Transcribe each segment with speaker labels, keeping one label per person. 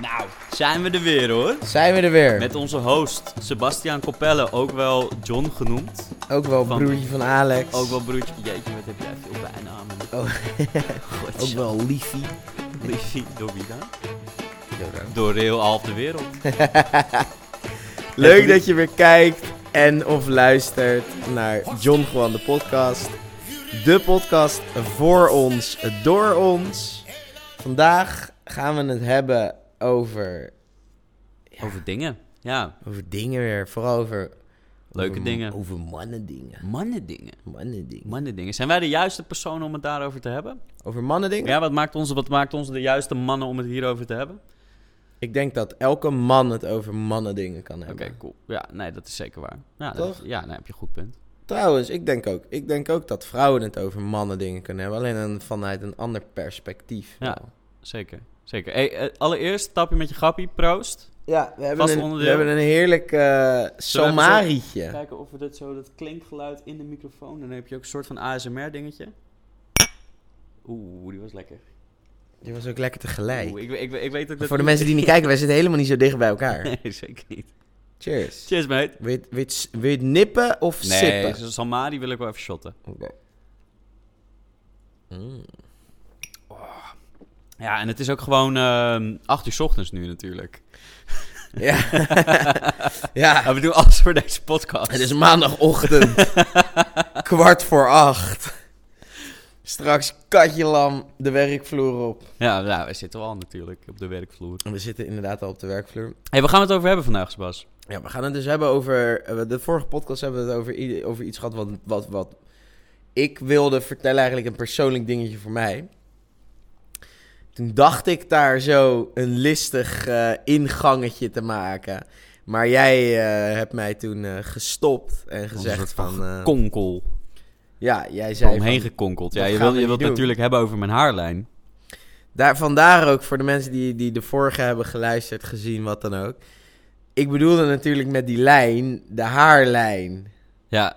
Speaker 1: Nou, zijn we er weer hoor.
Speaker 2: Zijn we er weer.
Speaker 1: Met onze host Sebastian Coppelle, ook wel John genoemd.
Speaker 2: Ook wel
Speaker 1: van-
Speaker 2: broertje van Alex.
Speaker 1: Ook wel broertje. Jeetje, wat heb jij veel bijnamen.
Speaker 2: Oh, ook
Speaker 1: Godje.
Speaker 2: wel Liefie.
Speaker 1: Liefie, door wie dan? Door heel half de wereld.
Speaker 2: Leuk dat je weer kijkt en of luistert naar John Gewoon de podcast. De podcast voor ons, door ons. Vandaag gaan we het hebben over,
Speaker 1: Over dingen. Ja,
Speaker 2: over dingen weer. Vooral over...
Speaker 1: leuke
Speaker 2: over-
Speaker 1: dingen.
Speaker 2: Over mannen dingen.
Speaker 1: Mannen dingen.
Speaker 2: Mannen dingen.
Speaker 1: Mannen dingen. Zijn wij de juiste personen om het daarover te hebben?
Speaker 2: Over mannen dingen?
Speaker 1: Ja, wat maakt ons, wat maakt ons de juiste mannen om het hierover te hebben?
Speaker 2: Ik denk dat elke man het over mannen dingen kan
Speaker 1: Oké,
Speaker 2: hebben.
Speaker 1: cool. Ja, nee, dat is zeker waar. Ja, dat,
Speaker 2: Toch?
Speaker 1: ja, nee, heb je een goed punt.
Speaker 2: Trouwens, ik denk ook. Ik denk ook dat vrouwen het over mannen dingen kunnen hebben. Alleen een, vanuit een ander perspectief.
Speaker 1: Ja. Zeker, zeker. Hey, eh, allereerst, tapje met je grappie, proost.
Speaker 2: Ja, we
Speaker 1: Vast
Speaker 2: hebben, een, we
Speaker 1: onderdeel.
Speaker 2: hebben een heerlijk eh somarietje.
Speaker 1: Kijken of we dat zo, dat klinkgeluid in de microfoon, dan heb je ook een soort van ASMR dingetje. Oeh, die was lekker.
Speaker 2: Die was ook lekker
Speaker 1: Oeh,
Speaker 2: tegelijk.
Speaker 1: ik, ik, ik weet ook dat...
Speaker 2: Voor de mensen die niet kijken, wij zitten helemaal niet zo dicht bij elkaar.
Speaker 1: Nee, zeker niet.
Speaker 2: Cheers.
Speaker 1: Cheers, mate.
Speaker 2: Wil je het- wil je het s- wil je het nippen of
Speaker 1: Nee,
Speaker 2: sippen?
Speaker 1: zo'n Salmari wil ik wel even shotten.
Speaker 2: Oké. Mm.
Speaker 1: Ja, en het is ook gewoon ehm 8 uur 's ochtends nu natuurlijk.
Speaker 2: Ja. ja.
Speaker 1: Ja, we doen alles voor deze podcast.
Speaker 2: Het is maandagochtend. kwart voor acht. Straks katje lam de werkvloer op.
Speaker 1: Ja, nou, we zitten al natuurlijk op de werkvloer.
Speaker 2: We zitten inderdaad al op de werkvloer.
Speaker 1: hey, waar gaan we het over hebben vandaag, Sebas?
Speaker 2: Ja, we gaan het dus hebben over. eh, De vorige podcast hebben we het over, i- over iets gehad wat, wat, wat ik wilde vertellen, eigenlijk een persoonlijk dingetje voor mij. Toen dacht ik daar zo een listig eh, ingangetje te maken. Maar jij eh, hebt mij toen eh, gestopt en
Speaker 1: soort
Speaker 2: gezegd
Speaker 1: van
Speaker 2: van. eh,
Speaker 1: Konkel.
Speaker 2: ja, jij zei.
Speaker 1: Omheen
Speaker 2: van-
Speaker 1: gekonkeld. Ja,
Speaker 2: dat
Speaker 1: je
Speaker 2: gaan
Speaker 1: wil je
Speaker 2: we niet
Speaker 1: wilt
Speaker 2: doen.
Speaker 1: natuurlijk hebben over mijn haarlijn.
Speaker 2: Daar, vandaar ook voor de mensen die, die de vorige hebben geluisterd, gezien, wat dan ook. Ik bedoelde natuurlijk met die lijn, de haarlijn.
Speaker 1: Ja,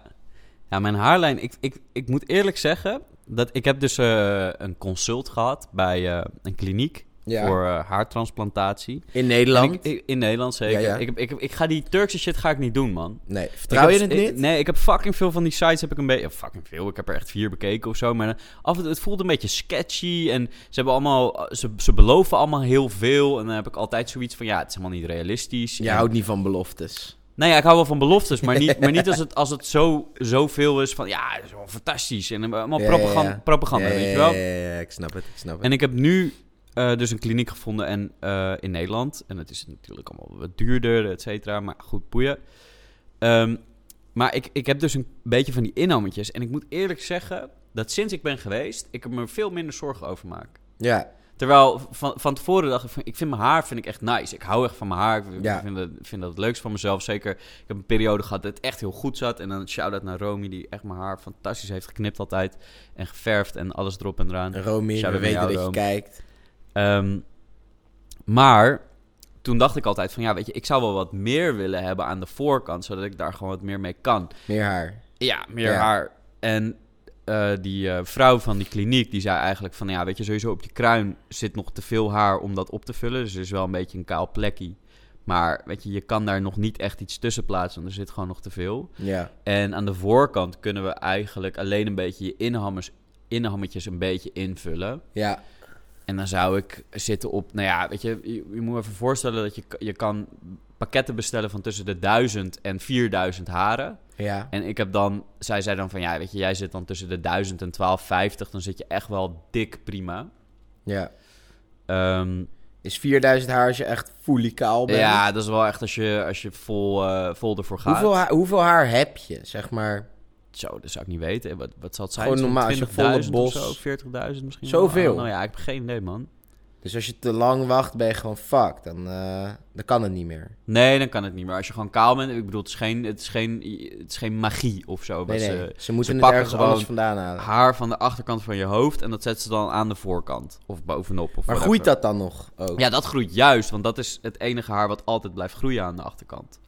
Speaker 1: ja mijn haarlijn. Ik, ik, ik moet eerlijk zeggen dat ik heb dus eh, een consult gehad bij eh, een kliniek
Speaker 2: Ja.
Speaker 1: voor eh, haartransplantatie.
Speaker 2: In Nederland?
Speaker 1: En Ik, ik- in Nederland zeker.
Speaker 2: Ja, ja.
Speaker 1: Ik, heb- ik, heb- ik ga die Turkse shit ga ik niet doen, man.
Speaker 2: Nee, vertrouw je
Speaker 1: Ik
Speaker 2: het
Speaker 1: heb-
Speaker 2: niet?
Speaker 1: ik- nee, ik heb fucking veel van die sites heb ik een beetje... ja, Fucking veel, ik heb er echt vier bekeken of zo. Maar eh, af en toe, het voelt een beetje sketchy. En ze, hebben allemaal, eh, ze, ze beloven allemaal heel veel. En dan heb ik altijd zoiets van... Ja, het is helemaal niet realistisch.
Speaker 2: Je
Speaker 1: En-
Speaker 2: houdt niet van beloftes.
Speaker 1: Nee, Nou ja, ik hou wel van beloftes, maar niet, maar niet als het, als het zo, zoveel is van ja, dat is wel fantastisch. En eh, allemaal
Speaker 2: Ja,
Speaker 1: propaganda,
Speaker 2: ja, ja.
Speaker 1: propaganda
Speaker 2: Ja,
Speaker 1: weet je
Speaker 2: ja,
Speaker 1: wel.
Speaker 2: Ja, ja, ja, ik snap het, ik snap het.
Speaker 1: En ik heb nu eh, dus een kliniek gevonden en, eh, in Nederland. En het is natuurlijk allemaal wat duurder, et cetera, maar goed, boeien. Ehm, maar ik, ik heb dus een beetje van die innametjes. En ik moet eerlijk zeggen dat sinds ik ben geweest, ik er me veel minder zorgen over maak.
Speaker 2: Ja,
Speaker 1: Terwijl van, van tevoren dacht ik, van, ik vind mijn haar vind ik echt nice. Ik hou echt van mijn haar. Ik
Speaker 2: Ja.
Speaker 1: vind, dat, vind dat het leukst van mezelf. Zeker, ik heb een periode gehad dat het echt heel goed zat. En dan een shout-out naar Romy, die echt mijn haar fantastisch heeft geknipt altijd. En geverfd en alles erop en eraan.
Speaker 2: Romy,
Speaker 1: Shout-out
Speaker 2: we
Speaker 1: naar
Speaker 2: weten
Speaker 1: jou,
Speaker 2: dat je
Speaker 1: Rome.
Speaker 2: kijkt.
Speaker 1: Ehm, maar toen dacht ik altijd van, ja weet je, ik zou wel wat meer willen hebben aan de voorkant. Zodat ik daar gewoon wat meer mee kan.
Speaker 2: Meer haar.
Speaker 1: Ja, meer
Speaker 2: Ja.
Speaker 1: haar. En eh, die eh, vrouw van die kliniek, die zei eigenlijk van... Ja, weet je, sowieso op je kruin zit nog te veel haar om dat op te vullen. Dus er is wel een beetje een kaal plekje. Maar weet je, je kan daar nog niet echt iets tussen plaatsen. Want er zit gewoon nog te veel.
Speaker 2: Ja.
Speaker 1: En aan de voorkant kunnen we eigenlijk alleen een beetje je inhammers, inhammetjes een beetje invullen.
Speaker 2: Ja,
Speaker 1: En dan zou ik zitten op, nou ja, weet je, je, je moet me even voorstellen dat je, k- je kan pakketten bestellen van tussen de 1000 en 4000 haren.
Speaker 2: ja.
Speaker 1: En ik heb dan, zij zei dan van ja, weet je, jij zit dan tussen de 1000 en 1250, dan zit je echt wel dik prima.
Speaker 2: ja.
Speaker 1: Ehm,
Speaker 2: Is 4000 haar als je echt fully kaal bent?
Speaker 1: ja, dat is wel echt als je, als je vol, eh, vol ervoor gaat.
Speaker 2: Hoeveel haar, hoeveel haar heb je, zeg maar?
Speaker 1: Zo, dat zou ik niet weten. Wat, wat zal het zijn?
Speaker 2: Gewoon
Speaker 1: Zo'n
Speaker 2: normaal, als je
Speaker 1: 20.000
Speaker 2: volle
Speaker 1: of
Speaker 2: bos-
Speaker 1: zo, 40.000 misschien.
Speaker 2: Zoveel?
Speaker 1: wel. Nou ja, ik heb geen idee, man.
Speaker 2: Dus als je te lang wacht, ben je gewoon fucked. Dan, eh, dan kan het niet meer.
Speaker 1: Nee, dan kan het niet meer. Als je gewoon kaal bent, ik bedoel, het is geen, het is geen, het is geen magie of zo.
Speaker 2: Nee,
Speaker 1: wat
Speaker 2: nee.
Speaker 1: ze-
Speaker 2: Ze, moeten het
Speaker 1: pakken
Speaker 2: ergens
Speaker 1: gewoon
Speaker 2: anders vandaan halen.
Speaker 1: haar van de achterkant van je hoofd en dat zet ze dan aan de voorkant of bovenop. Of
Speaker 2: Maar
Speaker 1: whatever.
Speaker 2: groeit dat dan nog ook?
Speaker 1: Ja, dat groeit juist, want dat is het enige haar wat altijd blijft groeien aan de achterkant.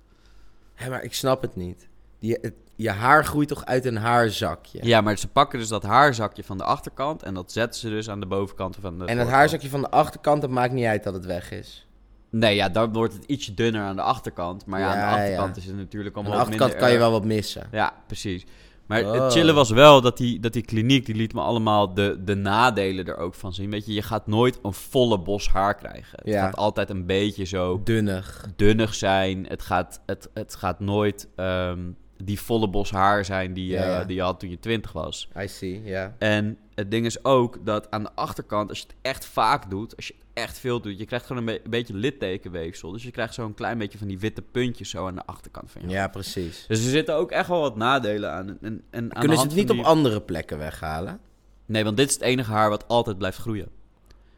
Speaker 2: Hé, maar ik snap het niet. Je, het- je haar groeit toch uit een haarzakje?
Speaker 1: Ja, maar ze pakken dus dat haarzakje van de achterkant en dat zetten ze dus aan de bovenkant van de.
Speaker 2: En dat
Speaker 1: voorkant.
Speaker 2: haarzakje van de achterkant, dat maakt niet uit dat het weg is.
Speaker 1: Nee, ja, dan wordt het ietsje dunner aan de achterkant. Maar ja,
Speaker 2: Ja,
Speaker 1: aan de achterkant
Speaker 2: ja.
Speaker 1: is het natuurlijk
Speaker 2: Aan de
Speaker 1: allemaal wat
Speaker 2: achterkant
Speaker 1: minder
Speaker 2: kan je
Speaker 1: erg.
Speaker 2: wel wat missen.
Speaker 1: Ja, precies. Maar
Speaker 2: Oh.
Speaker 1: het chillen was wel dat die, dat die kliniek, die liet me allemaal de, de nadelen er ook van zien. Weet je, je gaat nooit een volle bos haar krijgen. Het
Speaker 2: Ja.
Speaker 1: gaat altijd een beetje zo
Speaker 2: Dunnig.
Speaker 1: dunnig zijn. Het gaat, het, het gaat nooit ehm, die volle bos haar zijn die, je-
Speaker 2: Ja, ja.
Speaker 1: die je had toen je twintig was.
Speaker 2: I see, ja.
Speaker 1: En het ding is ook dat aan de achterkant, als je het echt vaak doet, als je het echt veel doet, je krijgt gewoon een, be- een beetje littekenweefsel. Dus je krijgt zo'n klein beetje van die witte puntjes zo aan de achterkant van je. hand.
Speaker 2: Ja, precies.
Speaker 1: Dus er zitten ook echt wel wat nadelen aan. En, en, en aan de
Speaker 2: Kunnen ze
Speaker 1: hand
Speaker 2: het niet
Speaker 1: van
Speaker 2: op
Speaker 1: die-
Speaker 2: andere plekken weghalen?
Speaker 1: Nee, want dit is het enige haar wat altijd blijft groeien.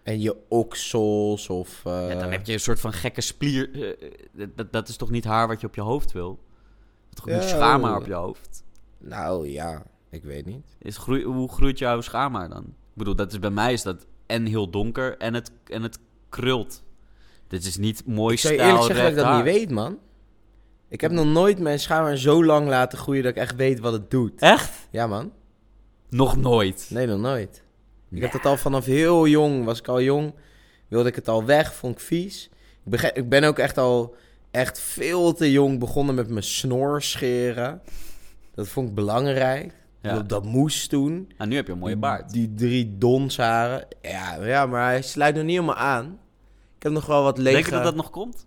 Speaker 2: En je oksels of... eh,
Speaker 1: Ja, dan heb je een soort van gekke splier. eh, eh, dat, dat is toch niet haar wat je op je hoofd wil? Toch
Speaker 2: Ja,
Speaker 1: niet schaamhaar
Speaker 2: oh.
Speaker 1: op je hoofd?
Speaker 2: Nou ja, ik weet niet.
Speaker 1: Is groei, hoe groeit jouw schaamhaar dan? Ik bedoel, dat is, bij mij is dat en heel donker en het, en het krult. Dit is niet mooi
Speaker 2: Ik zou je
Speaker 1: stijl,
Speaker 2: eerlijk zeggen dat ik
Speaker 1: recht
Speaker 2: dat
Speaker 1: haar.
Speaker 2: niet weet, man. Ik heb nog nooit mijn schaamhaar zo lang laten groeien dat ik echt weet wat het doet.
Speaker 1: Echt?
Speaker 2: Ja, man.
Speaker 1: Nog nooit.
Speaker 2: Nee, nog nooit. Ik heb dat al vanaf heel jong, was ik al jong, wilde ik het al weg, vond ik vies. Ik, bege- ik ben ook echt al echt veel te jong begonnen met mijn snor scheren. Dat vond ik Mm. belangrijk.
Speaker 1: Ja.
Speaker 2: Dat, dat moest toen.
Speaker 1: Nou, nu heb je een mooie
Speaker 2: Die-
Speaker 1: baard.
Speaker 2: Die, drie donsharen. Ja, ja, maar hij sluit nog niet helemaal aan. Ik heb nog wel wat lege...
Speaker 1: Denk je dat dat nog komt?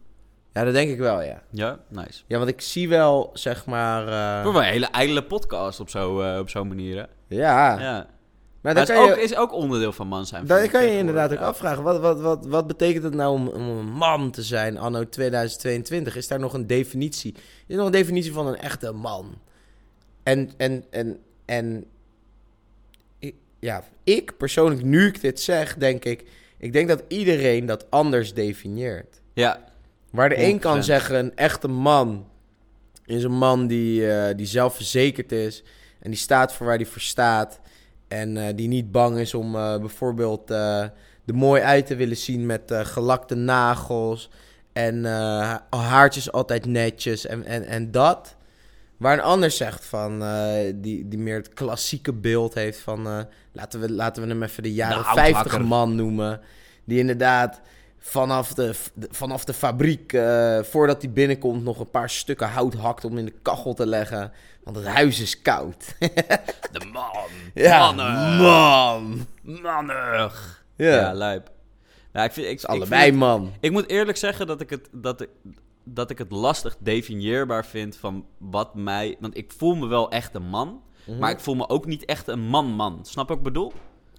Speaker 2: Ja, dat denk ik wel, ja.
Speaker 1: Ja, nice.
Speaker 2: Ja, want ik zie wel, zeg maar... eh,
Speaker 1: Het wordt wel een hele ijdele podcast op zo'n eh, op zo'n manier, hè? Ja.
Speaker 2: Ja. maar
Speaker 1: Maar
Speaker 2: dan
Speaker 1: dat is
Speaker 2: kan je...
Speaker 1: ook, is ook onderdeel van man zijn.
Speaker 2: Daar
Speaker 1: vind
Speaker 2: kan
Speaker 1: ik
Speaker 2: je inderdaad ook
Speaker 1: tegenwoordig,
Speaker 2: afvragen. Wat, wat, wat, wat betekent het nou om, om een man te zijn anno 2022? Is daar nog een definitie? Is er nog een definitie van een echte man? En, en, en, en ik- ja, ik persoonlijk, nu ik dit zeg, denk ik... Ik denk dat iedereen dat anders definieert.
Speaker 1: Ja. Ja.
Speaker 2: Waar de een
Speaker 1: 100%.
Speaker 2: kan zeggen, een echte man is een man die, eh, die zelfverzekerd is. En die staat voor waar hij voor staat. En eh, die niet bang is om eh, bijvoorbeeld eh, er mooi uit te willen zien met eh, gelakte nagels. En eh, haartjes altijd netjes en, en, en dat. Waar een ander zegt van, eh, die, die meer het klassieke beeld heeft van, eh, laten, we, laten we hem even de jaren
Speaker 1: De oudhakker.
Speaker 2: 50 man noemen. Die inderdaad vanaf de, f- de- vanaf de fabriek, eh, voordat hij binnenkomt, nog een paar stukken hout hakt om in de kachel te leggen. Want het huis is koud.
Speaker 1: De man.
Speaker 2: ja,
Speaker 1: Mannen.
Speaker 2: man.
Speaker 1: Mannig.
Speaker 2: Ja,
Speaker 1: Ja, lijp. Nou, ik vind, ik, ik
Speaker 2: allebei
Speaker 1: vind-
Speaker 2: man.
Speaker 1: Ik moet eerlijk zeggen dat ik het, dat ik, dat ik het lastig definieerbaar vind van wat mij. Want ik voel me wel echt een man. Maar ik voel me ook niet echt een man-man. Snap je wat ik bedoel?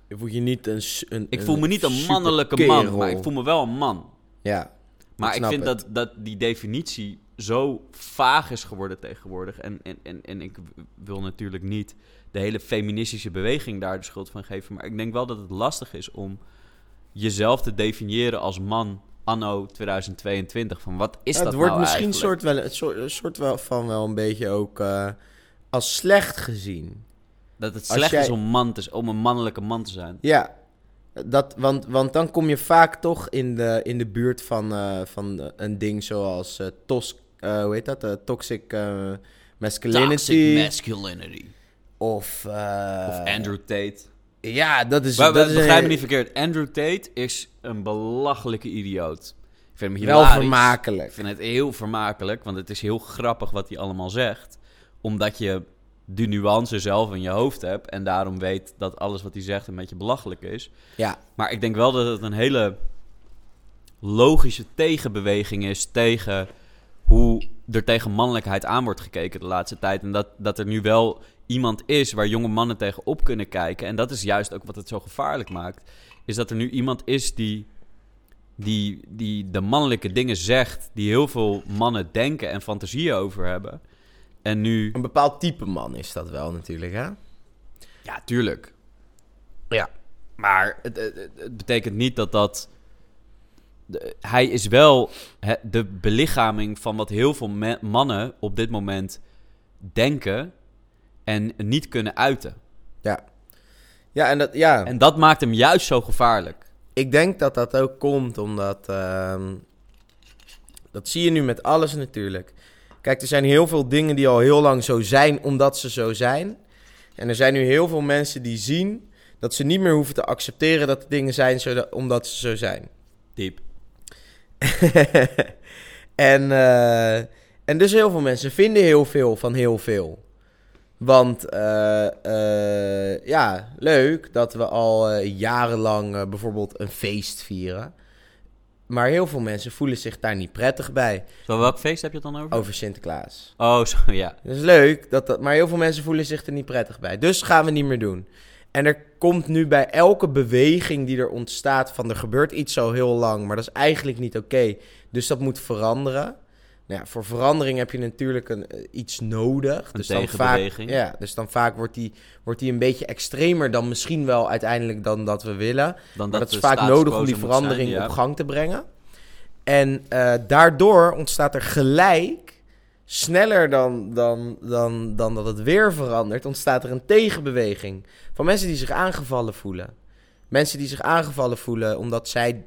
Speaker 2: Ik voel je niet een... s- een
Speaker 1: Ik voel me niet een
Speaker 2: super
Speaker 1: mannelijke man,
Speaker 2: kerel.
Speaker 1: maar ik voel me wel een man.
Speaker 2: Ja,
Speaker 1: Maar ik
Speaker 2: snap
Speaker 1: vind
Speaker 2: het.
Speaker 1: dat, dat die definitie zo vaag is geworden tegenwoordig. En, en, en, en ik w- wil natuurlijk niet de hele feministische beweging daar de schuld van geven. Maar ik denk wel dat het lastig is om jezelf te definiëren als man anno 2022. Van wat is
Speaker 2: Ja,
Speaker 1: dat
Speaker 2: het wordt
Speaker 1: nou
Speaker 2: misschien
Speaker 1: eigenlijk?
Speaker 2: soort, wel, het soort, soort wel van wel een beetje ook eh, als slecht gezien.
Speaker 1: Dat het
Speaker 2: als
Speaker 1: slecht
Speaker 2: jij-
Speaker 1: is om, man te, om een mannelijke man te zijn.
Speaker 2: Ja, dat, want, want dan kom je vaak toch in de, in de buurt van, eh, van eh, een ding zoals eh, tos, eh, hoe heet dat? eh, toxic eh, masculinity.
Speaker 1: Toxic masculinity.
Speaker 2: of, eh,
Speaker 1: Of Andrew Tate.
Speaker 2: Ja, dat is...
Speaker 1: Maar,
Speaker 2: dat
Speaker 1: maar
Speaker 2: is
Speaker 1: begrijp me
Speaker 2: een-
Speaker 1: niet verkeerd. Andrew Tate is een belachelijke idioot. Ik vind hem
Speaker 2: Wel
Speaker 1: hilarisch. Ik
Speaker 2: vermakelijk.
Speaker 1: vind het heel vermakelijk, want het is heel grappig wat hij allemaal zegt. Omdat je die nuance zelf in je hoofd hebt en daarom weet dat alles wat hij zegt een beetje belachelijk is.
Speaker 2: Ja,
Speaker 1: Maar ik denk wel dat het een hele logische tegenbeweging is tegen hoe er tegen mannelijkheid aan wordt gekeken de laatste tijd. En dat, dat er nu wel iemand is waar jonge mannen tegen op kunnen kijken. En dat is juist ook wat het zo gevaarlijk maakt. Is dat er nu iemand is die, die, die de mannelijke dingen zegt. Die heel veel mannen denken en fantasieën over hebben. En nu.
Speaker 2: een bepaald type man is dat wel natuurlijk, hè?
Speaker 1: Ja, tuurlijk. Ja. Maar het, het, het- het betekent niet dat dat... de- hij is wel hè, de belichaming van wat heel veel me- mannen op dit moment denken en niet kunnen uiten.
Speaker 2: Ja. Ja, en dat... Ja.
Speaker 1: En dat maakt hem juist zo gevaarlijk.
Speaker 2: Ik denk dat dat ook komt omdat. ehm, dat zie je nu met alles natuurlijk. Kijk, er zijn heel veel dingen die al heel lang zo zijn, omdat ze zo zijn. En er zijn nu heel veel mensen die zien dat ze niet meer hoeven te accepteren dat de dingen zijn zodat, omdat ze zo zijn.
Speaker 1: Diep.
Speaker 2: en, eh, en dus heel veel mensen vinden heel veel van heel veel. Want eh, eh, ja, leuk dat we al eh, jarenlang eh, bijvoorbeeld een feest vieren. Maar heel veel mensen voelen zich daar niet prettig bij
Speaker 1: Zo, welk feest heb je het dan over?
Speaker 2: over Sinterklaas.
Speaker 1: Oh, zo, ja.
Speaker 2: Dat is leuk, dat dat, maar heel veel mensen voelen zich er niet prettig bij. Dus gaan we niet meer doen. En er komt nu bij elke beweging die er ontstaat van er gebeurt iets zo heel lang, maar dat is eigenlijk niet oké. Dus dat moet veranderen. Nou ja, voor verandering heb je natuurlijk een, eh, iets nodig.
Speaker 1: Een
Speaker 2: dus dan vaak,
Speaker 1: tegenbeweging.
Speaker 2: ja, dus dan vaak wordt die, wordt die een beetje extremer dan misschien wel uiteindelijk dan dat we willen.
Speaker 1: Dan
Speaker 2: Maar dat,
Speaker 1: de
Speaker 2: is vaak
Speaker 1: status
Speaker 2: nodig
Speaker 1: quo
Speaker 2: om die
Speaker 1: zo moet
Speaker 2: verandering
Speaker 1: zijn, ja.
Speaker 2: op gang te brengen. En eh, daardoor ontstaat er gelijk, sneller dan, dan, dan, dan dat het weer verandert, ontstaat er een tegenbeweging van mensen die zich aangevallen voelen. Mensen die zich aangevallen voelen omdat zij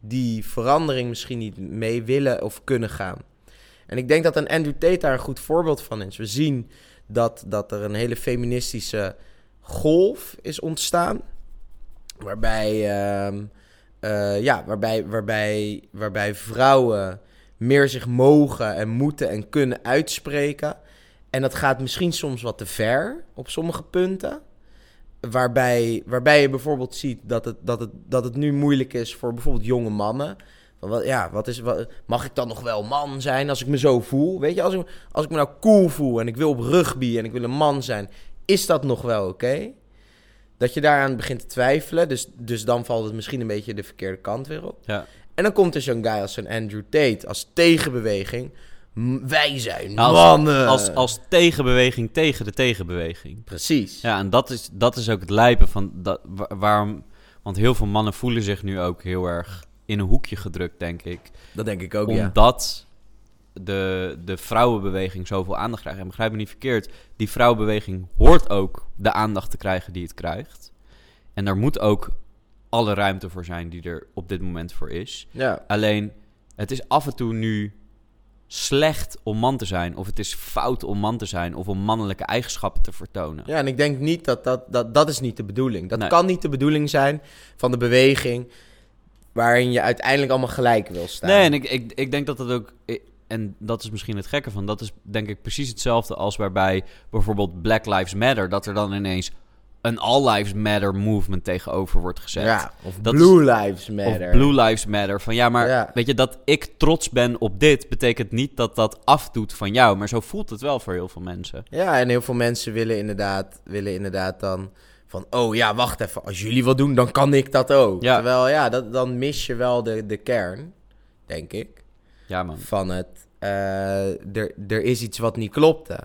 Speaker 2: die verandering misschien niet mee willen of kunnen gaan. En ik denk dat een Andrew Tate daar een goed voorbeeld van is. We zien dat, dat er een hele feministische golf is ontstaan. Waarbij, ehm, eh, ja, waarbij, waarbij, waarbij vrouwen meer zich mogen en moeten en kunnen uitspreken. En dat gaat misschien soms wat te ver op sommige punten. Waarbij, waarbij je bijvoorbeeld ziet dat het, dat, het, dat het nu moeilijk is voor bijvoorbeeld jonge mannen. Van wat, ja, wat is, wat, mag ik dan nog wel man zijn als ik me zo voel? Weet je, als ik, als ik me nou cool voel en ik wil op rugby en ik wil een man zijn, is dat nog wel oké? Dat je daaraan begint te twijfelen. Dus, dus dan valt het misschien een beetje de verkeerde kant weer op.
Speaker 1: Ja.
Speaker 2: En dan komt er zo'n guy als zo'n Andrew Tate als tegenbeweging. M- Wij zijn
Speaker 1: Nou, Als,
Speaker 2: mannen.
Speaker 1: Als, als tegenbeweging tegen de tegenbeweging.
Speaker 2: Precies.
Speaker 1: Ja, en dat is, dat is ook het lijpen van dat, wa- waarom. Want heel veel mannen voelen zich nu ook heel erg in een hoekje gedrukt, denk ik.
Speaker 2: Dat denk ik ook, ja.
Speaker 1: omdat de, de vrouwenbeweging zoveel aandacht krijgt. En begrijp me niet verkeerd, die vrouwenbeweging hoort ook de aandacht te krijgen die het krijgt. En daar moet ook alle ruimte voor zijn die er op dit moment voor is.
Speaker 2: Ja,
Speaker 1: Alleen, het is af en toe nu slecht om man te zijn. Of het is fout om man te zijn. Of om mannelijke eigenschappen te vertonen.
Speaker 2: ja en ik denk niet dat dat... Dat, dat is niet de bedoeling. Dat
Speaker 1: Nee.
Speaker 2: kan niet de bedoeling zijn van de beweging... waarin je uiteindelijk allemaal gelijk wil staan.
Speaker 1: Nee, en ik, ik, ik denk dat dat ook. ik- En dat is misschien het gekke van. Dat is denk ik precies hetzelfde als waarbij bijvoorbeeld Black Lives Matter. Dat er dan ineens een All Lives Matter movement tegenover wordt gezet.
Speaker 2: Ja, of
Speaker 1: Dat
Speaker 2: Blue Lives
Speaker 1: Of
Speaker 2: Matter.
Speaker 1: Blue Lives Matter. Van ja, maar
Speaker 2: Ja.
Speaker 1: weet je, dat ik trots ben op dit. betekent niet dat dat afdoet van jou. Maar zo voelt het wel voor heel veel mensen.
Speaker 2: Ja, en heel veel mensen willen inderdaad, willen inderdaad dan van... oh ja, wacht even, als jullie wat doen, dan kan ik dat ook.
Speaker 1: Ja.
Speaker 2: Terwijl, ja, dat, dan mis je wel de, de kern, denk ik,
Speaker 1: Ja, man.
Speaker 2: van het... eh, er er is iets wat niet klopte.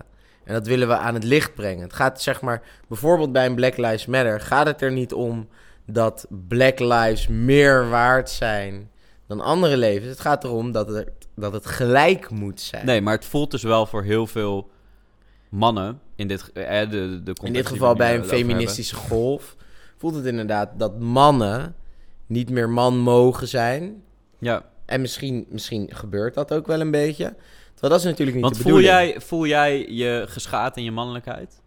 Speaker 2: En dat willen we aan het licht brengen. Het gaat, zeg maar, bijvoorbeeld bij een Black Lives Matter... gaat het er niet om dat Black Lives meer waard zijn dan andere levens. Het gaat erom dat het, dat het gelijk moet zijn.
Speaker 1: Nee, maar het voelt dus wel voor heel veel mannen. In dit, ge- eh, de, de context die
Speaker 2: In dit
Speaker 1: we
Speaker 2: geval
Speaker 1: nu
Speaker 2: bij een
Speaker 1: over hebben.
Speaker 2: feministische golf voelt het inderdaad dat mannen niet meer man mogen zijn.
Speaker 1: Ja.
Speaker 2: En misschien, misschien gebeurt dat ook wel een beetje. Terwijl dat is natuurlijk niet
Speaker 1: Want
Speaker 2: de
Speaker 1: voel
Speaker 2: bedoeling.
Speaker 1: jij, voel jij je geschaad in je mannelijkheid?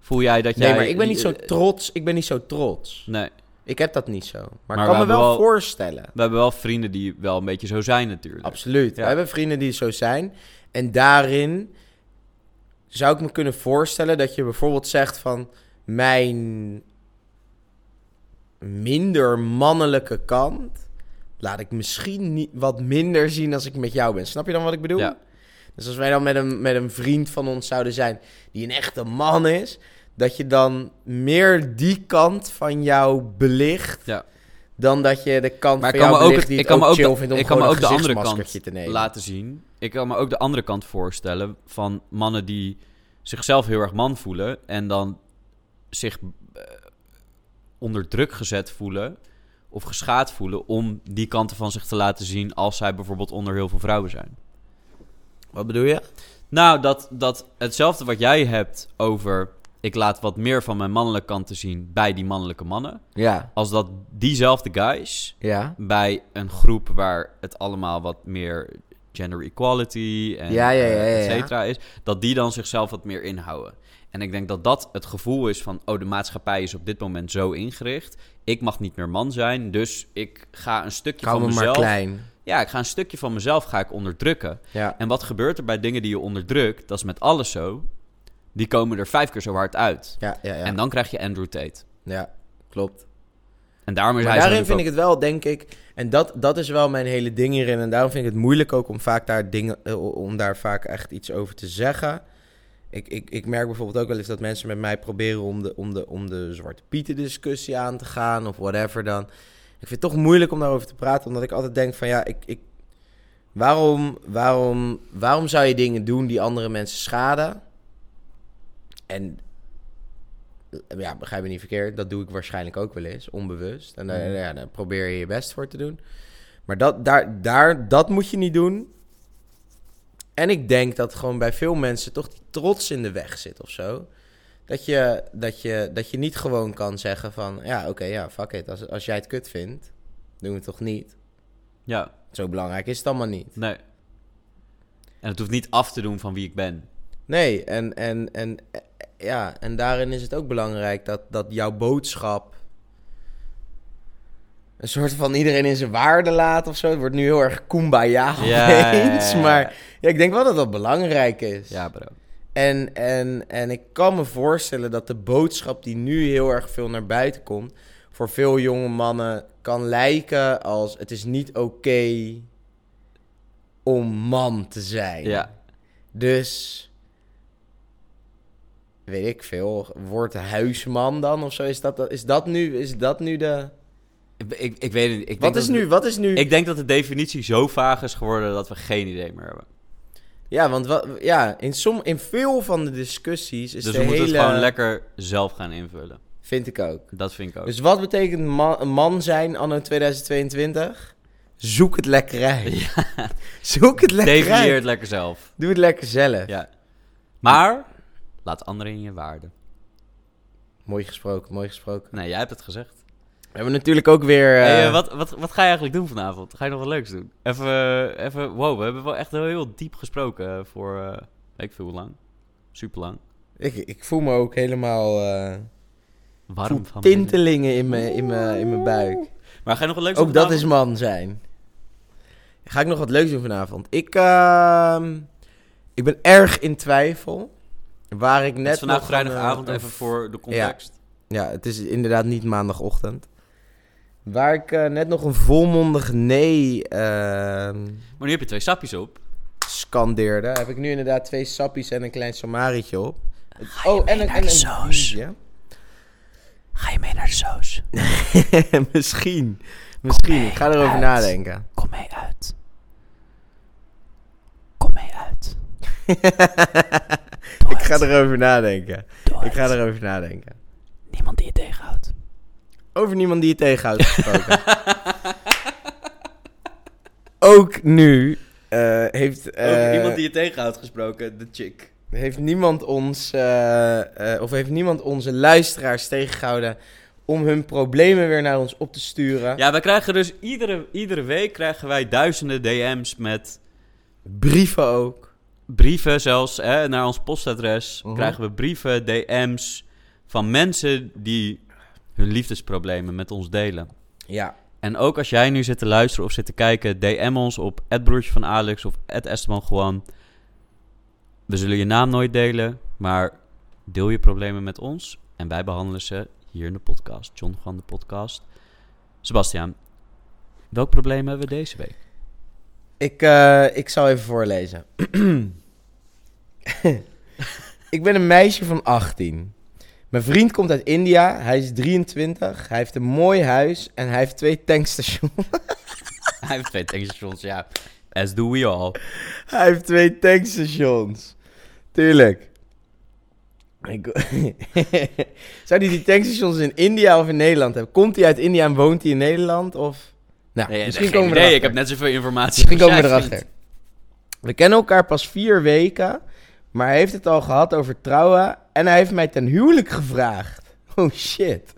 Speaker 1: Voel jij dat jij...
Speaker 2: Nee, maar ik ben niet zo
Speaker 1: eh,
Speaker 2: trots. Ik ben niet zo trots.
Speaker 1: Nee,
Speaker 2: Ik heb dat niet zo. Maar,
Speaker 1: Maar
Speaker 2: ik kan
Speaker 1: we
Speaker 2: me
Speaker 1: hebben
Speaker 2: wel,
Speaker 1: wel-
Speaker 2: voorstellen.
Speaker 1: we hebben wel vrienden die wel een beetje zo zijn natuurlijk.
Speaker 2: Absoluut.
Speaker 1: Ja.
Speaker 2: We hebben vrienden die zo zijn. En daarin zou ik me kunnen voorstellen dat je bijvoorbeeld zegt van mijn minder mannelijke kant laat ik misschien niet wat minder zien als ik met jou ben. Snap je dan wat ik bedoel?
Speaker 1: Ja.
Speaker 2: Dus als wij dan met een, met een vriend van ons zouden zijn die een echte man is, dat je dan meer die kant van jou belicht.
Speaker 1: Ja.
Speaker 2: Dan dat je de kant
Speaker 1: Maar ik
Speaker 2: van
Speaker 1: kan me
Speaker 2: jou
Speaker 1: ook,
Speaker 2: belicht die
Speaker 1: ik
Speaker 2: het
Speaker 1: kan me
Speaker 2: ook
Speaker 1: ook,
Speaker 2: chill
Speaker 1: de,
Speaker 2: vindt om
Speaker 1: ik kan me
Speaker 2: gewoon
Speaker 1: ook
Speaker 2: een
Speaker 1: de andere kant
Speaker 2: gezichtsmaskertje te nemen.
Speaker 1: laten zien. Ik kan me ook de andere kant voorstellen van mannen die zichzelf heel erg man voelen en dan zich eh, onder druk gezet voelen of geschaad voelen om die kanten van zich te laten zien als zij bijvoorbeeld onder heel veel vrouwen zijn.
Speaker 2: Wat bedoel je?
Speaker 1: Nou, dat, dat hetzelfde wat jij hebt over. Ik laat wat meer van mijn mannelijke kant te zien bij die mannelijke mannen.
Speaker 2: Ja.
Speaker 1: Als dat diezelfde guys
Speaker 2: Ja.
Speaker 1: bij een groep waar het allemaal wat meer gender equality en
Speaker 2: Ja, ja, ja,
Speaker 1: eh,
Speaker 2: ja,
Speaker 1: et
Speaker 2: ja.
Speaker 1: cetera is. Dat die dan zichzelf wat meer inhouden. En ik denk dat dat het gevoel is van... oh, de maatschappij is op dit moment zo ingericht. Ik mag niet meer man zijn, dus ik ga een stukje van
Speaker 2: Kan me maar
Speaker 1: mezelf
Speaker 2: klein.
Speaker 1: Ja, ik ga een stukje van mezelf ga ik onderdrukken.
Speaker 2: Ja.
Speaker 1: En wat gebeurt er bij dingen die je onderdrukt? Dat is met alles zo. Die komen er vijf keer zo hard uit.
Speaker 2: Ja, ja, ja.
Speaker 1: En dan krijg je Andrew Tate.
Speaker 2: ja, klopt.
Speaker 1: En daarom is
Speaker 2: Maar
Speaker 1: hij zo
Speaker 2: daarin
Speaker 1: nu
Speaker 2: vind ik het wel, denk ik. En dat, dat is wel mijn hele ding hierin. En daarom vind ik het moeilijk ook om, vaak daar dingen, eh, om daar vaak echt iets over te zeggen. Ik, ik, ik merk bijvoorbeeld ook wel eens dat mensen met mij proberen om de, om de, om de Zwarte Pieten discussie aan te gaan of whatever dan. Ik vind het toch moeilijk om daarover te praten, omdat ik altijd denk van ja, ik, ik, waarom, waarom, waarom zou je dingen doen die andere mensen schaden? En ja, begrijp me niet verkeerd, dat doe ik waarschijnlijk ook wel eens, onbewust. En daar,
Speaker 1: Mhm.
Speaker 2: ja, daar probeer je je best voor te doen. Maar dat, daar, daar, dat moet je niet doen. En ik denk dat gewoon bij veel mensen toch die trots in de weg zit of zo. Dat je, dat je, dat je niet gewoon kan zeggen van... Ja, oké, ja, fuck it. Als, als jij het kut vindt, doen we het toch niet?
Speaker 1: Ja,
Speaker 2: Zo belangrijk is het allemaal niet.
Speaker 1: nee. En het hoeft niet af te doen van wie ik ben.
Speaker 2: Nee, en, en, en, eh, ja, en daarin is het ook belangrijk dat, dat jouw boodschap een soort van iedereen in zijn waarde laat of zo. Het wordt nu heel erg kumbaya
Speaker 1: Ja,
Speaker 2: opeens,
Speaker 1: ja, ja.
Speaker 2: maar ja, ik denk wel dat dat belangrijk is.
Speaker 1: Ja, bro.
Speaker 2: En, en, en ik kan me voorstellen dat de boodschap die nu heel erg veel naar buiten komt, voor veel jonge mannen kan lijken als het is niet oké om man te zijn.
Speaker 1: Ja,
Speaker 2: Dus weet ik veel, wordt huisman dan of zo? Is dat, is dat, nu, is dat nu de.
Speaker 1: ik, ik, ik weet het niet. Ik denk
Speaker 2: Wat is
Speaker 1: dat-
Speaker 2: nu? Wat is nu?
Speaker 1: Ik denk dat de definitie zo vaag is geworden dat we geen idee meer hebben.
Speaker 2: Ja, want wat, ja, in, som, in veel van de discussies is
Speaker 1: dus
Speaker 2: de
Speaker 1: we moeten
Speaker 2: hele.
Speaker 1: het gewoon lekker zelf gaan invullen.
Speaker 2: Vind ik ook.
Speaker 1: Dat vind ik ook.
Speaker 2: Dus wat betekent ma- een man zijn anno 2022? Zoek het lekker uit. Zoek het lekker uit.
Speaker 1: Definieer het lekker zelf.
Speaker 2: Doe het lekker zelf.
Speaker 1: Ja. Maar, laat anderen in je waarde.
Speaker 2: Mooi gesproken, mooi gesproken.
Speaker 1: Nee, jij hebt het gezegd.
Speaker 2: We hebben natuurlijk ook weer. eh,
Speaker 1: Hey, eh, wat, wat, wat ga je eigenlijk doen vanavond? Ga je nog wat leuks doen? Even, eh, even wow, we hebben wel echt heel, heel diep gesproken eh, voor, eh, weet ik veel hoe lang. Super lang.
Speaker 2: ik, ik voel me ook helemaal. eh,
Speaker 1: Warm van binnen.
Speaker 2: tintelingen in mijn, in mijn, in mijn buik.
Speaker 1: Maar ga je nog wat leuks
Speaker 2: Ook
Speaker 1: doen
Speaker 2: dat is
Speaker 1: vanavond?
Speaker 2: man zijn. Ga ik nog wat leuks doen vanavond? Ik, ehm, ik ben erg in twijfel. Waar ik
Speaker 1: Het
Speaker 2: net
Speaker 1: is vandaag
Speaker 2: nog een,
Speaker 1: vrijdagavond,
Speaker 2: eh, een
Speaker 1: even voor de context.
Speaker 2: ja, het is inderdaad niet maandagochtend. Waar ik eh, net nog een volmondig nee ehm,
Speaker 1: Maar nu heb je twee sapjes op.
Speaker 2: scandeerde, heb ik nu inderdaad twee sappies en een klein samarietje op. oh, en een, en een biertje.
Speaker 1: Ga je mee naar de saus?
Speaker 2: misschien. Misschien. Ik ga erover
Speaker 1: uit.
Speaker 2: nadenken.
Speaker 1: Kom mee uit. Kom mee uit.
Speaker 2: ik ga erover nadenken. Ik ga erover nadenken.
Speaker 1: Niemand die je tegenhoudt.
Speaker 2: Over niemand die je tegenhoudt gesproken. Ook nu eh, heeft, eh,
Speaker 1: iemand die je tegenhoudt gesproken, de chick.
Speaker 2: heeft niemand ons eh, eh, of heeft niemand onze luisteraars tegengehouden om hun problemen weer naar ons op te sturen.
Speaker 1: Ja, wij krijgen dus iedere, iedere week krijgen wij duizenden DM's met
Speaker 2: Brieven ook.
Speaker 1: brieven zelfs hè, naar ons postadres.
Speaker 2: Mhm.
Speaker 1: Krijgen we brieven, DM's van mensen die hun liefdesproblemen met ons delen.
Speaker 2: Ja.
Speaker 1: En ook als jij nu zit te luisteren of zit te kijken, DM ons op het broertje van Alex of het Esteban Juan. We zullen je naam nooit delen, maar deel je problemen met ons en wij behandelen ze hier in de podcast. John Juan de podcast. Sebastiaan, welk probleem hebben we deze week?
Speaker 2: Ik, eh, ik zal even voorlezen. ik ben een meisje van 18. Mijn vriend komt uit India. Hij is 23. Hij heeft een mooi huis en hij heeft twee tankstations.
Speaker 1: Hij heeft twee tankstations, ja. As do we all.
Speaker 2: Hij heeft twee tankstations. Tuurlijk. Ik... Zou hij die tankstations in India of in Nederland hebben? Komt hij uit India en woont hij in Nederland? Of... Nou,
Speaker 1: Nee,
Speaker 2: misschien komen we
Speaker 1: Nee,
Speaker 2: erachter.
Speaker 1: ik heb net zoveel informatie.
Speaker 2: Misschien komen we
Speaker 1: als jij
Speaker 2: erachter. We kennen elkaar pas vier weken, maar hij heeft het al gehad over trouwen en hij heeft mij ten huwelijk gevraagd. Oh shit.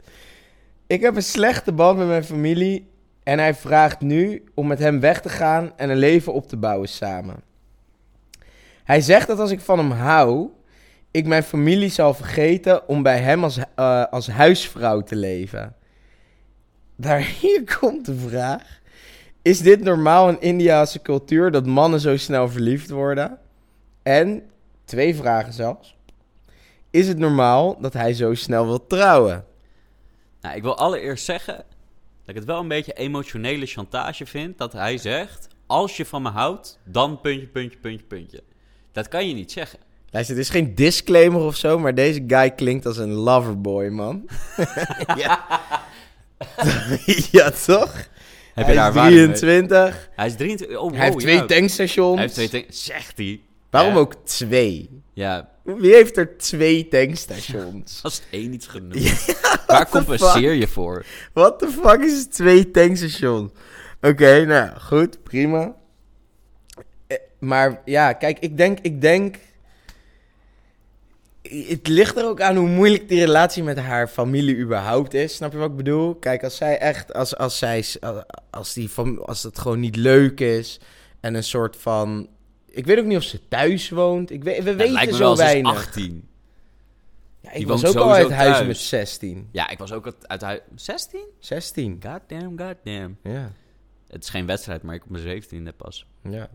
Speaker 2: Ik heb een slechte band met mijn familie en hij vraagt nu om met hem weg te gaan en een leven op te bouwen samen. Hij zegt dat als ik van hem hou, ik mijn familie zal vergeten om bij hem als, eh, als huisvrouw te leven. Daar hier komt de vraag. Is dit normaal in Indiaanse cultuur dat mannen zo snel verliefd worden? En, twee vragen zelfs. Is het normaal dat hij zo snel wil trouwen?
Speaker 1: Nou, ik wil allereerst zeggen dat ik het wel een beetje emotionele chantage vind dat hij zegt: Als je van me houdt, dan puntje, puntje, puntje, puntje. Dat kan je niet zeggen.
Speaker 2: Luister, dit is geen disclaimer of zo, maar deze guy klinkt als een loverboy, man. ja. ja, toch?
Speaker 1: Heb je
Speaker 2: hij
Speaker 1: daar
Speaker 2: is
Speaker 1: waarde mee?
Speaker 2: 23.
Speaker 1: Hij is 23. Oh, wow,
Speaker 2: hij heeft twee
Speaker 1: ja.
Speaker 2: tankstations.
Speaker 1: Hij heeft twee tank- Zegt hij.
Speaker 2: Waarom
Speaker 1: Ja.
Speaker 2: ook twee?
Speaker 1: Ja,
Speaker 2: Wie heeft er twee tankstations?
Speaker 1: als het één niet genoeg. Waar compenseer je voor?
Speaker 2: What the fuck is twee tankstations? Oké, nou goed, prima. Eh, Maar ja, kijk, ik denk, ik denk. I- Het ligt er ook aan hoe moeilijk die relatie met haar familie überhaupt is. Snap je wat ik bedoel? Kijk, als zij echt, als, als zij, s- a- als die fam- als het gewoon niet leuk is en een soort van. Ik weet ook niet of ze thuis woont. Ik weet, we
Speaker 1: Het
Speaker 2: weten
Speaker 1: lijkt me
Speaker 2: zo
Speaker 1: wel, ze is
Speaker 2: weinig.
Speaker 1: 18.
Speaker 2: Ja,
Speaker 1: die
Speaker 2: ik was
Speaker 1: woont
Speaker 2: ook al
Speaker 1: sowieso
Speaker 2: uit huis
Speaker 1: thuis.
Speaker 2: met 16.
Speaker 1: Ja, ik was ook uit- uit huis. 16?
Speaker 2: 16.
Speaker 1: Goddamn, goddamn.
Speaker 2: Ja. Het
Speaker 1: Het is geen wedstrijd, maar ik op mijn 17e pas.
Speaker 2: Ja.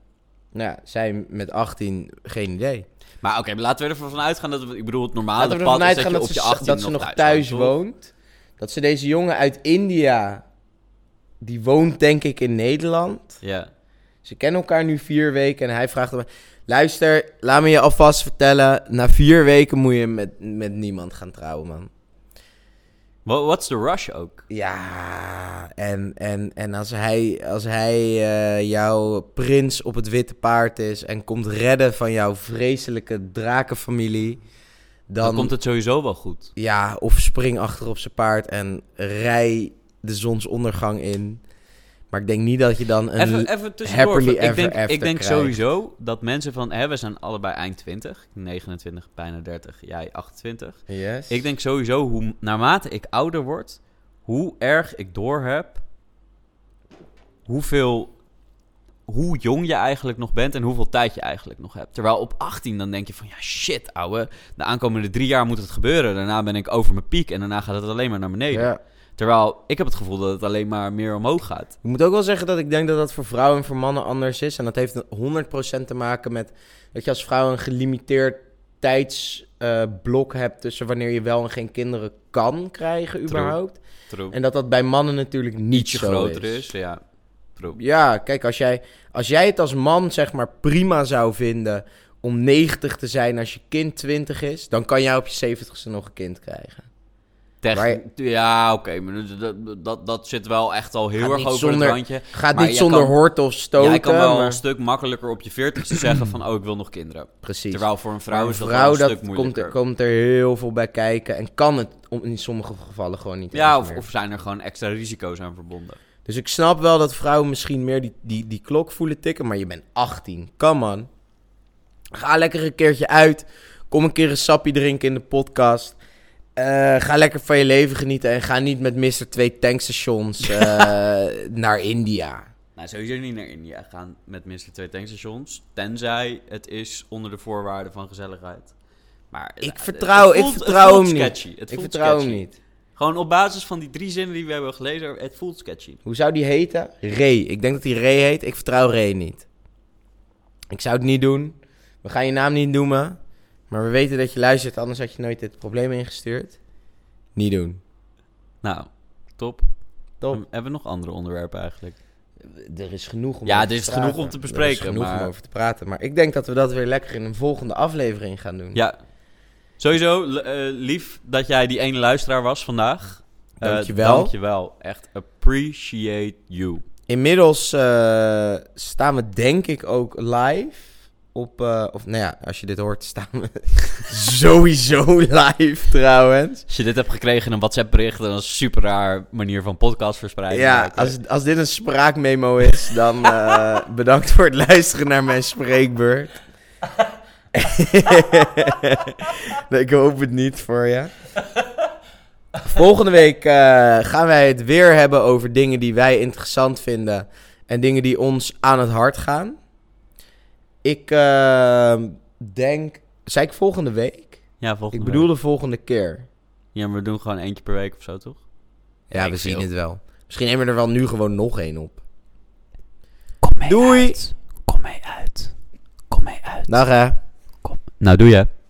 Speaker 2: Nou, ja, zij met 18, geen idee.
Speaker 1: Maar oké, maar laten we ervan uitgaan dat we, ik bedoel, het normale
Speaker 2: Laten we
Speaker 1: pad
Speaker 2: ervan
Speaker 1: is dat,
Speaker 2: uitgaan
Speaker 1: je
Speaker 2: dat,
Speaker 1: op je
Speaker 2: ze,
Speaker 1: 18
Speaker 2: dat ze nog thuis,
Speaker 1: woont.
Speaker 2: woont. Dat ze deze jongen uit India, die woont denk ik in Nederland.
Speaker 1: Ja.
Speaker 2: Ze kennen elkaar nu vier weken en hij vraagt hem... Luister, laat me je alvast vertellen. Na vier weken moet je met, met niemand gaan trouwen, man.
Speaker 1: Wha- What's the rush ook?
Speaker 2: Ja, en, en, en als hij, als hij eh, jouw prins op het witte paard is en komt redden van jouw vreselijke drakenfamilie,
Speaker 1: Dan,
Speaker 2: dan,
Speaker 1: komt het sowieso wel goed.
Speaker 2: ja, of spring achter op zijn paard en rij de zonsondergang in. Maar ik denk niet dat je dan een.
Speaker 1: Even, even tussendoor.
Speaker 2: happily
Speaker 1: Ik
Speaker 2: ever
Speaker 1: denk,
Speaker 2: after
Speaker 1: ik denk
Speaker 2: krijgt.
Speaker 1: sowieso dat mensen van... Hè, we zijn allebei eind 20. 29, bijna 30. Jij 28.
Speaker 2: Yes.
Speaker 1: Ik denk sowieso, hoe, naarmate ik ouder word, hoe erg ik doorheb hoeveel, hoe jong je eigenlijk nog bent en hoeveel tijd je eigenlijk nog hebt. Terwijl op 18 dan denk je van, ja shit ouwe, de aankomende drie jaar moet het gebeuren. Daarna ben ik over mijn piek en daarna gaat het alleen maar naar beneden.
Speaker 2: Ja.
Speaker 1: Terwijl ik heb het gevoel dat het alleen maar meer omhoog gaat.
Speaker 2: Ik moet ook wel zeggen dat ik denk dat dat voor vrouwen en voor mannen anders is. En dat heeft 100% te maken met dat je als vrouw een gelimiteerd tijdsblok hebt tussen wanneer je wel en geen kinderen kan krijgen überhaupt.
Speaker 1: True.
Speaker 2: En dat dat bij mannen natuurlijk niet
Speaker 1: Ietsje
Speaker 2: zo
Speaker 1: groter is, ja. True.
Speaker 2: Ja, kijk, als jij, als jij het als man zeg maar prima zou vinden om 90 te zijn als je kind 20 is, dan kan jij op je 70ste nog een kind krijgen.
Speaker 1: Tech-
Speaker 2: Maar
Speaker 1: Ja, oké, maar dat, dat, dat zit wel echt al heel
Speaker 2: Gaat
Speaker 1: erg
Speaker 2: niet
Speaker 1: over
Speaker 2: zonder-
Speaker 1: het randje.
Speaker 2: Gaat
Speaker 1: Maar
Speaker 2: niet
Speaker 1: je
Speaker 2: zonder
Speaker 1: kan-
Speaker 2: horten of stoten.
Speaker 1: ja, ik kan wel een
Speaker 2: maar-
Speaker 1: stuk makkelijker op je 40 zeggen van, oh, ik wil nog kinderen.
Speaker 2: Precies.
Speaker 1: Terwijl voor een vrouw
Speaker 2: Maar
Speaker 1: is dat
Speaker 2: vrouw,
Speaker 1: wel een
Speaker 2: dat
Speaker 1: stuk
Speaker 2: komt,
Speaker 1: moeilijker.
Speaker 2: er, komt er heel veel bij kijken en kan het om, in sommige gevallen gewoon niet.
Speaker 1: ja,
Speaker 2: eens
Speaker 1: of,
Speaker 2: meer.
Speaker 1: of zijn er gewoon extra risico's aan verbonden.
Speaker 2: Dus ik snap wel dat vrouwen misschien meer die, die, die klok voelen tikken, maar je bent 18. Come on. Ga lekker een keertje uit. Kom een keer een sappie drinken in de podcast. Eh, ga lekker van je leven genieten en ga niet met Mr. Twee tankstations eh, naar India.
Speaker 1: Nou, sowieso niet naar India gaan met minstens twee tankstations. Tenzij het is onder de voorwaarden van gezelligheid. Maar
Speaker 2: Ik
Speaker 1: ja, het-
Speaker 2: vertrouw-
Speaker 1: het
Speaker 2: ik
Speaker 1: voelt-
Speaker 2: vertrouw
Speaker 1: het voelt
Speaker 2: hem niet.
Speaker 1: sketchy. Het
Speaker 2: ik
Speaker 1: voelt
Speaker 2: vertrouw hem
Speaker 1: sketchy.
Speaker 2: niet.
Speaker 1: Gewoon op basis van die drie zinnen die we hebben gelezen, het voelt sketchy.
Speaker 2: Hoe zou die heten? Ray. Ik denk dat die Ray heet. Ik vertrouw Ray niet. Ik zou het niet doen. We gaan je naam niet noemen. Maar we weten dat je luistert, anders had je nooit dit probleem ingestuurd. Niet doen.
Speaker 1: Nou, top.
Speaker 2: Top.
Speaker 1: Hem- Hebben we nog andere onderwerpen eigenlijk?
Speaker 2: Er is genoeg om
Speaker 1: Ja,
Speaker 2: over
Speaker 1: er is
Speaker 2: te
Speaker 1: genoeg
Speaker 2: praten.
Speaker 1: om te bespreken,
Speaker 2: Er is genoeg
Speaker 1: maar-
Speaker 2: om over te praten. Maar ik denk dat we dat weer lekker in een volgende aflevering gaan doen.
Speaker 1: Hm. Ja. Sowieso, l- eh, lief dat jij die ene luisteraar was vandaag. Eh,
Speaker 2: Dankjewel.
Speaker 1: dankjewel. Echt appreciate you.
Speaker 2: Inmiddels eh, staan we denk ik ook live op... eh, of nou ja, als je dit hoort, staan we sowieso live trouwens.
Speaker 1: Als je dit hebt gekregen in een WhatsApp-bericht, dan is het een super raar manier van podcast verspreiden. Maar,
Speaker 2: Ja,
Speaker 1: eh,
Speaker 2: als, als dit een spraakmemo is, dan eh, bedankt voor het luisteren naar mijn spreekbeurt. nee, ik hoop het niet voor je. Volgende week eh, gaan wij het weer hebben over dingen die wij interessant vinden en dingen die ons aan het hart gaan. Ik eh, denk, zei ik volgende week?
Speaker 1: Ja, volgende
Speaker 2: ik bedoel
Speaker 1: week.
Speaker 2: de volgende keer.
Speaker 1: Ja, maar we doen gewoon eentje per week of zo, toch?
Speaker 2: Ja,
Speaker 1: ik
Speaker 2: we zien
Speaker 1: veel.
Speaker 2: het wel. Misschien nemen we er wel nu gewoon nog één op.
Speaker 3: Kom mee
Speaker 4: Doei.
Speaker 3: uit. Kom mee uit. Kom mee uit.
Speaker 4: Dag hè.
Speaker 3: Kom. Nou, doe je.